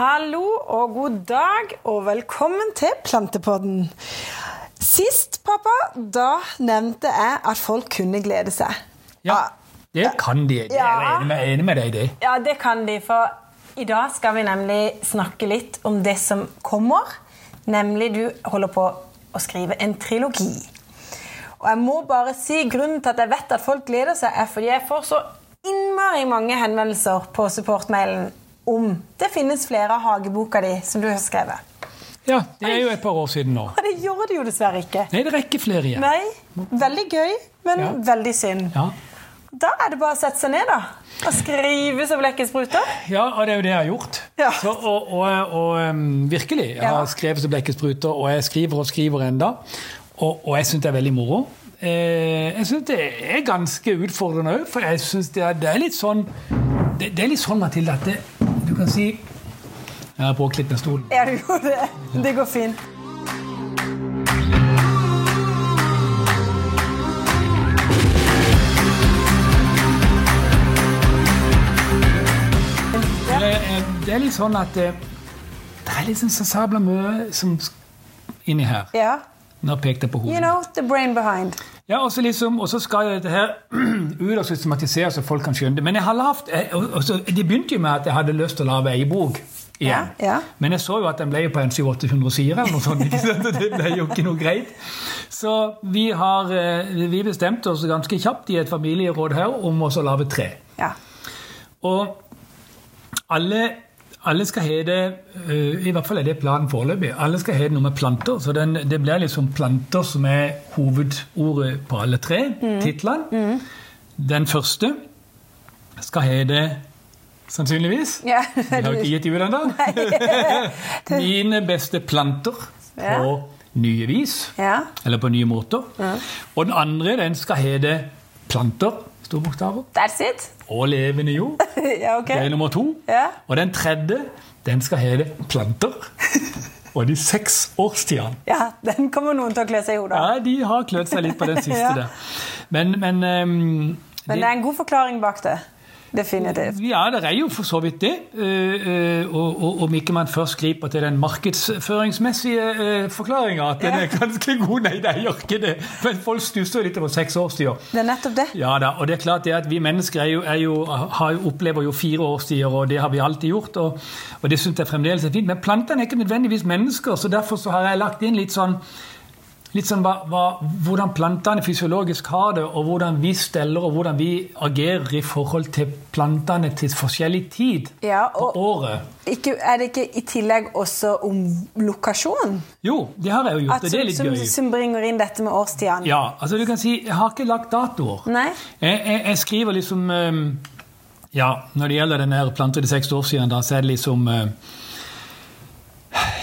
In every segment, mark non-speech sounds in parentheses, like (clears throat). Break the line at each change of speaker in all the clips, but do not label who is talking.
Hallo og god dag, og velkommen til Plantepodden. Sist, pappa, da nevnte jeg at folk kunne glede seg.
Ja, det kan de. Jeg er
Ah, Ja.
enig med, enig med deg i det.
Ja, det kan de, for i dag skal vi nemlig snakke litt om det som kommer. Nemlig du holder på å skrive en trilogi. Og jeg må bare si grunnen til at jeg vet at folk gleder seg, er fordi jeg får så innmari mange henvendelser på supportmailen om det finnes flere av hageboka di som du har skrevet.
Ja, Det er jo et par år siden nå.
Og det gjør det jo dessverre ikke.
Nei, det rekker flere igjen.
Nei. Veldig gøy, men
Ja.
veldig synd.
Ja.
Da er det bare å sette seg ned, da. Og skrive så blekket spruter.
ja, og det er jo det jeg har gjort.
Ja.
Så, og, og, og um, virkelig. Jeg
Ja.
har skrevet som blekket spruter, og jeg skriver og skriver enda. Og, og jeg syns det er veldig moro. Eh, jeg syns det er ganske utfordrende òg, for jeg syns det, er- det er litt sånn det, det er litt sånn, Mathilde, at det, du kan si Jeg har bråklitt med stolen.
Ja, du gjorde det. Det går fint.
Det er, det er litt sånn at eh, det er liksom så sabla mye som sk- inni her.
Ja.
Nå pekte jeg på
You
hodet.
know, the brain behind.
Ja, og så liksom, og så skal jeg dette her (clears throat) ut og systematisere så folk kan skjønne det. Men jeg har lavt, jeg- og, og så, Det begynte jo med at jeg hadde lyst til å lage eibok igjen.
Ja, ja.
Men jeg så jo at den ble jo på en 700-800 sider, eller noe sånt. (laughs) ikke sant? Og Det ble jo ikke noe greit. Så vi, har, eh, vi bestemte oss ganske kjapt i et familieråd her om også å lage tre.
Ja.
Og alle, alle skal ha det øh, I hvert fall er det planen foreløpig. Alle skal ha det noe med planter. Så den, det blir liksom planter som er hovedordet på alle tre
Mm.
titlene. Den første skal ha det sannsynligvis.
Ja.
Vi har jo ikke gitt ut ennå. (laughs) Mine beste planter på
Ja.
nye vis.
Ja.
Eller på nye måter. Og den andre den skal hete planter, store bokstaver,
That's it. (laughs)
og levende jord.
Ja, OK.
Det er nummer to.
Ja.
Og den tredje, den skal hete
(laughs)
planter. Og de seks årstidene.
Ja, Den kommer noen til å klø seg i hodet. av.
Ja, de har klødd seg litt på den siste
(laughs) Ja.
der. Men, men ehm,
Men det er en god forklaring bak det. Definitivt.
Ja, det er jo for så vidt det. Eh, eh, og, og om ikke man først griper til den markedsføringsmessige eh, forklaringa, at den er ganske god. Nei, det er jo ikke det. Men folk stusser jo litt over seks årstider.
Det er nettopp det.
Ja da, og det er klart det at vi mennesker er jo, er jo, har, jo- opplever jo fire årstider, og det har vi alltid gjort. Og, og det syns jeg fremdeles er fint. Men plantene er ikke nødvendigvis mennesker, så derfor så har jeg lagt inn litt sånn Litt sånn hva, hva, hvordan plantene fysiologisk har det, og hvordan vi steller og hvordan vi agerer i forhold til plantene til forskjellig tid
Ja,
på
og
året.
ikke, er det ikke i tillegg også om lokasjon?
Jo, det har jeg jo
At,
gjort, og det er litt
som,
gøy.
som bringer inn dette med årstidene?
Ja, altså du kan si, Jeg har ikke lagt datoer.
Nei?
Jeg, jeg, jeg skriver liksom ehm, Ja, når det gjelder den her planta de seks år siden, da, så er det liksom eh,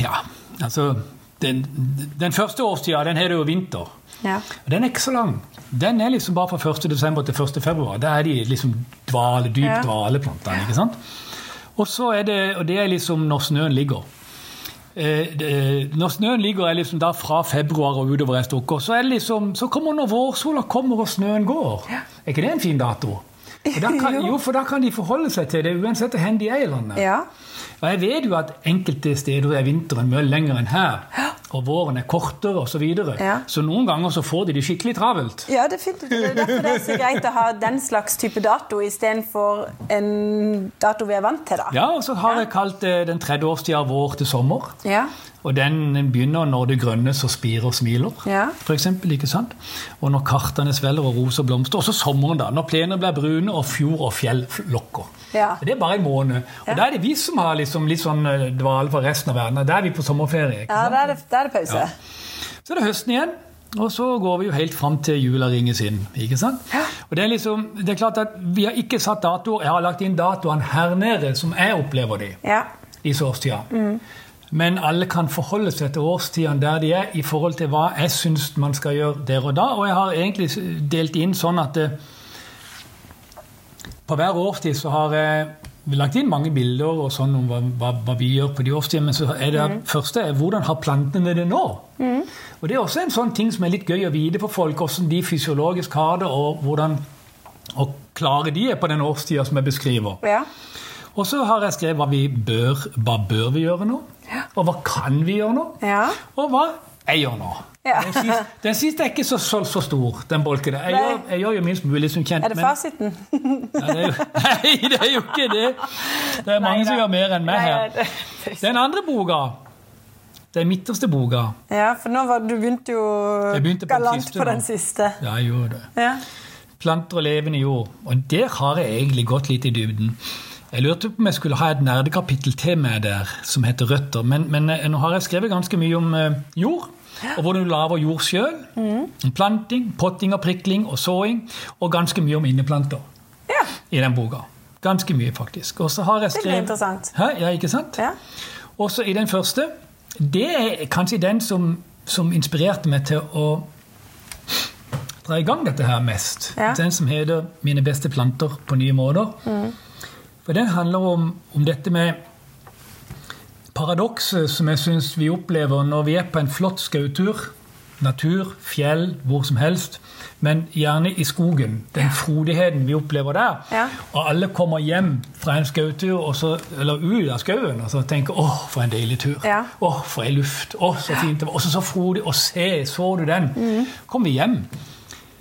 Ja, altså Den, den første årstida, den har det jo vinter.
Ja.
Og Den er ikke så lang. Den er liksom bare fra 1. desember til 1. februar. Da er de liksom dvale, dypt
Ja.
dvale plantene. ikke sant? Og så er det, og det er liksom når snøen ligger. Eh, det- Når snøen ligger er liksom da fra februar og utover et stykke, så, er det liksom, så kommer når vårsola kommer og snøen går. Er ikke det en fin dato? For da
(laughs)
kan, jo, for da kan de forholde seg til det uansett hvor hen de er i landet.
Ja.
Og jeg vet jo at enkelte steder er vinteren mye lenger enn her, og våren er kortere osv. Så, videre.
Ja.
så noen ganger så får de det skikkelig travelt.
Ja, definitivt. Det er derfor det er så greit å ha den slags type dato istedenfor en dato vi er vant til, da.
Ja, og så har jeg kalt det den tredje årstida vår til sommer.
Ja.
Og den begynner når det grønne så spirer og smiler,
Ja.
for eksempel, ikke sant? Og når kartene svelger og roser blomster. Og så sommeren, da. Når plenene blir brune og fjord og fjell lokker.
Ja.
Det er bare en måned. Og da er det vi som har liksom litt sånn eh, dvale for resten av verden. og Da er vi på sommerferie. ikke
Ja,
sant?
da er det, da er det pause.
Så er det høsten igjen, og så går vi jo helt fram til jula ringes inn. ikke sant? Og det er liksom, det er klart at Vi har ikke satt datoer. Jeg har lagt inn datoene her nede, som jeg opplever de,
Ja.
disse årstidene. Men alle kan forholde seg til årstidene der de er, i forhold til hva jeg syns man skal gjøre der og da. Og jeg har egentlig delt inn sånn at eh, på hver årstid så har jeg vi har lagt inn mange bilder og sånn om hva, hva, hva vi gjør på de årstidene. Men så er det første er hvordan har plantene det nå? Og Det er også en sånn ting som er litt gøy å vite for folk, hvordan de fysiologisk har det, og hvordan og klare de er på den årstida som jeg beskriver.
ja.
Og så har jeg skrevet hva vi bør, hva bør vi gjøre nå, og hva kan vi gjøre nå,
Ja.
og hva jeg gjør nå.
Ja.
Den, siste, den siste er ikke så, så, så stor, den bolken der. Jeg,
Nei.
gjør- jeg gjør jo minst mulig som
(laughs)
kjent.
Er det
men-
fasiten?
(laughs) Nei, det er jo, nei, det er jo ikke det. Det er mange som gjør mer enn meg her. Den andre boka, den midterste boka,
Ja, for nå var, du begynte jo
Jeg begynte på den
galant
siste
på
nå.
den siste.
ja, jeg gjorde det.
Ja.
planter og levende jord. Og der har jeg egentlig gått litt i dybden. Jeg lurte på om jeg skulle ha et nerdekapittel til meg der, som heter Røtter. Men, men eh, nå har jeg skrevet ganske mye om eh, jord, og hvordan du lager jord sjøl.
Mm.
Planting, potting og prikling og såing, og ganske mye om inneplanter
ja.
i den boka. Ganske mye, faktisk. Og så har jeg
Det blir
skrevet...
interessant.
Hæ? Ja, ikke sant?
Ja.
Og så i den første, det er kanskje den som, som inspirerte meg til å dra i gang dette her mest.
Ja.
Den som heter 'Mine beste planter på nye måter'. For den handler om, om dette med paradokset som jeg syns vi opplever når vi er på en flott skautur. Natur, fjell, hvor som helst. Men gjerne i skogen. Den frodigheten vi opplever der.
Ja.
Og alle kommer hjem fra en skautur, og så, eller ut av skauen, og så tenker 'Å, for en deilig tur'.
Ja.
'Å, for ei luft'. 'Å, så fint det var'. Og så så frodig. Og se, så du den?
Mm.
Kommer vi hjem,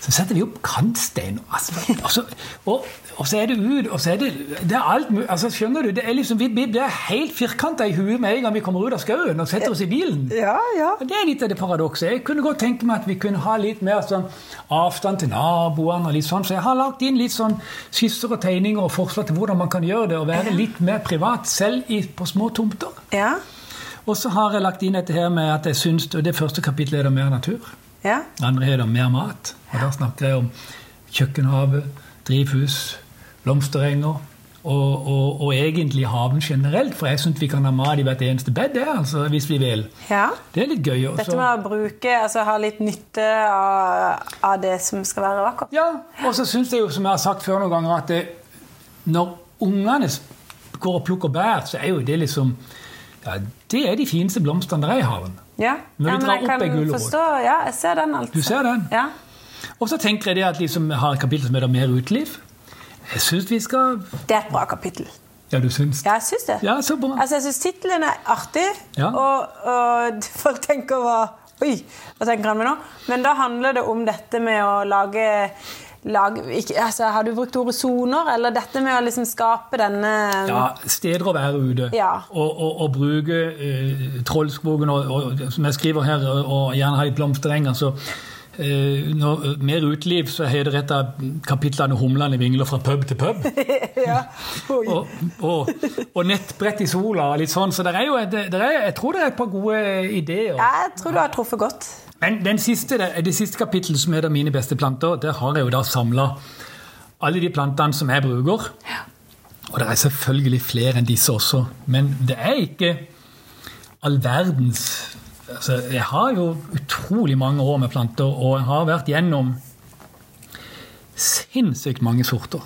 så setter vi opp kantstein og asfalt. Og så, og, og så er det ut, og så er det Det er alt mulig. Altså, skjønner du? Det er liksom, vi, vi blir helt firkanta i huet med en gang vi kommer ut av skauen og setter oss i bilen.
Ja, ja.
Og Det er litt av det paradokset. Jeg kunne godt tenke meg at vi kunne ha litt mer sånn avstand til naboene. og litt sånn, Så jeg har lagt inn litt sånn skisser og tegninger og forslag til hvordan man kan gjøre det, og være litt mer privat selv i, på små tomter.
Ja.
Og så har jeg lagt inn dette her med at jeg syns og Det første kapittelet er da mer natur.
ja.
Det andre heter Mer mat. Og da snakker jeg om kjøkkenhave, drivhus, blomsterenger. Og, og, og egentlig haven generelt, for jeg syns vi kan ha mat i hvert eneste bed der, altså, hvis vi vil.
ja.
Det er litt gøy. også.
Dette med å bruke, altså ha litt nytte av, av det som skal være vakkert.
Ja, og så syns jeg jo, som jeg har sagt før noen ganger, at det, når ungene går og plukker bær, så er jo det liksom ja, Det er de fineste blomstene der er i haven.
Ja.
Når vi
ja,
drar
jeg
opp
kan
ei gulrot.
forstå. Ja, jeg ser den, altså.
Du ser den?
Ja.
Og så tenker jeg det at liksom, jeg har et kapittel som heter Mer uteliv. Jeg syns vi skal
Det er et bra kapittel.
Ja, du syns det?
Ja, jeg syns det.
Ja, så bra.
Altså, jeg syns tittelen er artig,
Ja.
og, og (laughs) folk tenker hva Oi, hva tenker han med nå? Men da handler det om dette med å lage, lage ikke, altså, Har du brukt ordet soner, eller dette med å liksom skape denne
Ja, steder å være ute.
Ja.
Og, og, og bruke eh, Trollskogen, og, og, som jeg skriver her, og, og gjerne ha litt blomsterenger. Så eh, når, mer uteliv, så heter et av kapitlene 'Humlene vingler fra pub til pub'.
(laughs) ja. Oi.
og, og, og nettbrett i sola og litt sånn. Så det er jo, det, det er, jeg tror det er et par gode ideer.
Jeg tror du har truffet godt.
Men den siste, det, det siste kapittelet som heter 'Mine beste planter', der har jeg jo da samla alle de plantene som jeg bruker. Og det er selvfølgelig flere enn disse også, men det er ikke all verdens altså, Jeg har jo utrolig mange år med planter, og jeg har vært gjennom sinnssykt mange sorter.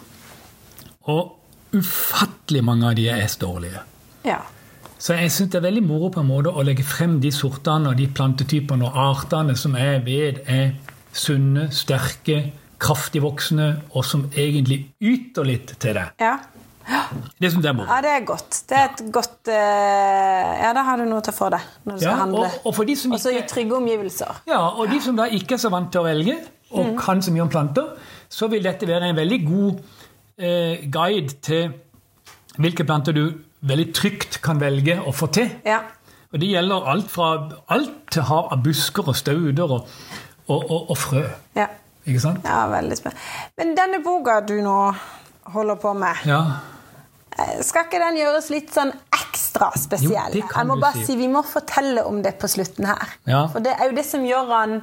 Og ufattelig mange av de er s dårlige.
Ja.
Så jeg syns det er veldig moro på en måte å legge frem de sortene og de plantetypene og artene som jeg vet er sunne, sterke, kraftig voksne, og som egentlig yter litt til deg.
ja.
Det syns jeg er moro.
Ja, det er godt. Det er et godt eh, Ja, da har du noe til å få deg når du skal
Ja,
handle.
og, og for de som
Og så i
ikke,
trygge omgivelser.
ja, og de som da ikke er så vant til å velge,
Mm.
og kan så mye om planter, så vil dette være en veldig god eh, guide til hvilke planter du veldig trygt kan velge å få til.
Ja.
Og det gjelder alt fra alt til hav av busker og stauder og, og, og, og frø.
ja.
Ikke sant?
Ja, veldig spennende. Men denne boka du nå holder på med,
Ja.
eh, skal ikke den gjøres litt sånn ekstra spesiell?
Jo, det kan
Jeg må
du
bare
si.
si vi må fortelle om det på slutten her.
Ja.
For det er jo det som gjør han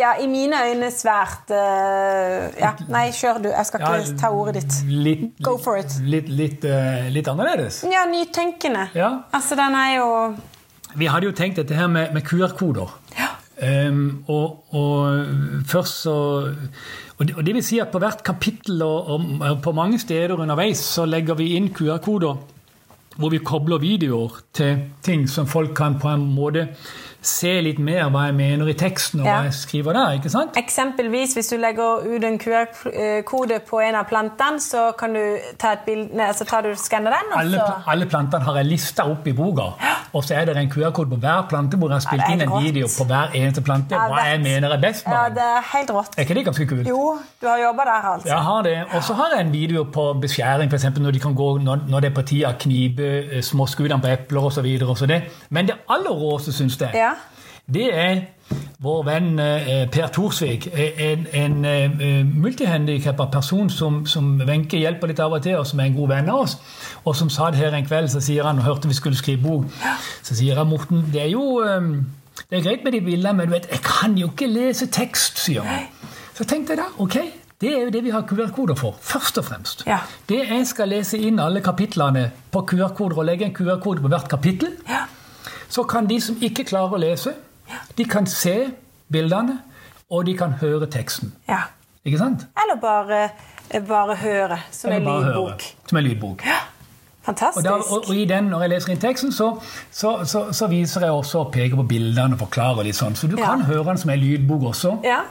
ja, i mine øyne svært eh, Ja, nei, kjør du. Jeg skal
Ja,
ikke ta ordet ditt.
Litt,
Go for it.
Litt, litt, eh, litt annerledes.
Ja, nytenkende.
Ja.
Altså, den er jo
Vi hadde jo tenkt dette her med, med QR-koder. Ehm, og, og først så og det, og det vil si at på hvert kapittel og, og på mange steder underveis så legger vi inn QR-koder hvor vi kobler videoer til ting som folk kan på en måte se litt mer hva jeg mener i teksten og
Ja.
hva jeg skriver der. ikke sant?
Eksempelvis hvis du legger ut en QR-kode på en av plantene, så kan du ta et bilde, nei, så tar du skanner den, og
Alle,
så
pla- alle plantene har jeg lista opp i boka, og så er det en QR-kode på hver plante hvor jeg har
Ja, det
spilt
er
inn en
rått.
video på hver eneste plante.
Jeg
Hva jeg
vet.
mener er best med
Ja,
den.
det er helt rått.
Er ikke det ganske kult?
Jo, du har jobba der, altså.
Jeg har det. Og så har jeg en video på beskjæring, for eksempel, når, de kan gå, når, når det er partier av knive, eh, småskuddene på epler osv. Men det aller råeste, syns jeg,
Ja.
det er vår venn eh, Per Thorsvik. En, en eh, multihandikappa person som, som Wenche hjelper litt av og til, og som er en god venn av oss. Og som satt her en kveld, så sier han, og hørte vi skulle skrive bok, så sier han Morten, det er jo eh, det er greit med de bildene, men du vet, jeg kan jo ikke lese tekst, sier han. Så tenkte jeg da, ok, det er jo det vi har QR-koder for, først og fremst.
Ja.
Det jeg skal lese inn alle kapitlene på QR-koder og legge en QR-kode på hvert kapittel,
Ja.
så kan de som ikke klarer å lese, de kan se bildene, og de kan høre teksten.
ja.
Ikke sant?
Eller bare, eh, bare høre, som en
Eller bare høre,
lydbok.
Som en lydbok. Og,
Fantastisk.
da, og, og i den, når jeg leser inn teksten, så, så, så, så viser jeg også og peker på bildene og forklarer litt sånn. Så du
Ja.
kan høre den som en lydbok også.
Ja.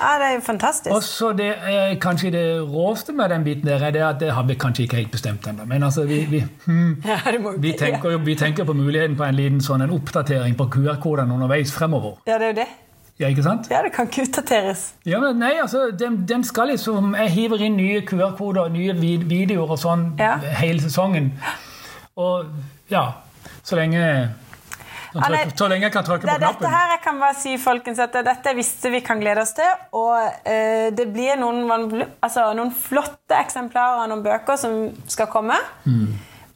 ja, det er jo fantastisk.
Og så det er kanskje det råeste med den biten der, er det at det har vi kanskje ikke helt bestemt ennå. Men altså, vi, vi, hmm,
ja, det må jo
vi,
bli-
tenker, jo- vi tenker på muligheten på en liten sånn en oppdatering på QR-kodene underveis fremover.
Ja, det er jo det.
Ja, ikke sant?
Ja, det kan ikke utdateres.
Ja, men nei, altså, den, den skal liksom Jeg hiver inn nye QR-koder og nye vid videoer og sånn
Ja.
hele sesongen. Og ja Så lenge kan
Ja, nei,
trykke, Så lenge jeg kan trykke
Det
på
er dette
knappen.
her jeg kan bare si, folkens, at det er dette jeg visste vi kan glede oss til. Og eh, det blir noen, vanvl- altså, noen flotte eksemplarer av noen bøker som skal komme.
Mm.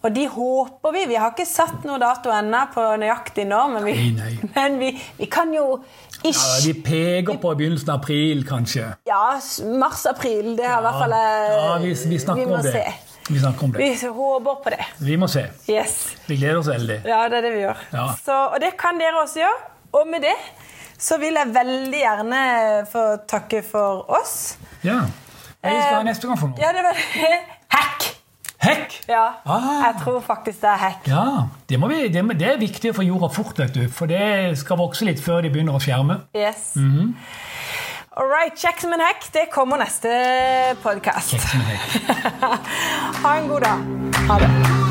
Og de håper vi. Vi har ikke satt noe dato ennå på nøyaktig nå, men vi,
Nei, nei.
(laughs) Men vi, vi kan jo
Ja,
ish
de peker på begynnelsen av april, kanskje.
Ja, mars-april. Det har i hvert fall eh,
ja vi, vi snakker
må
om det.
se.
Vi snakker om det.
Vi håper på det.
Vi må se.
Yes.
Vi gleder oss veldig.
Ja, det er det vi gjør.
Ja.
Så, og det kan dere også gjøre. Og med det så vil jeg veldig gjerne få takke for oss.
Ja. Hva skal ha neste gang for noe?
Eh, Ja, det var (laughs) det. Hack!
Hekk!
Ja.
Ah.
Jeg tror faktisk det er hack.
Ja, det, må vi, det, det er viktig å få jorda fort, vet du. For det skal vokse litt før de begynner å skjerme.
Yes.
Mhm.
All right. Kjekk som en hack. Det kommer neste podkast.
Kjekk som en hekk.
(laughs) ha en god dag. Ha det.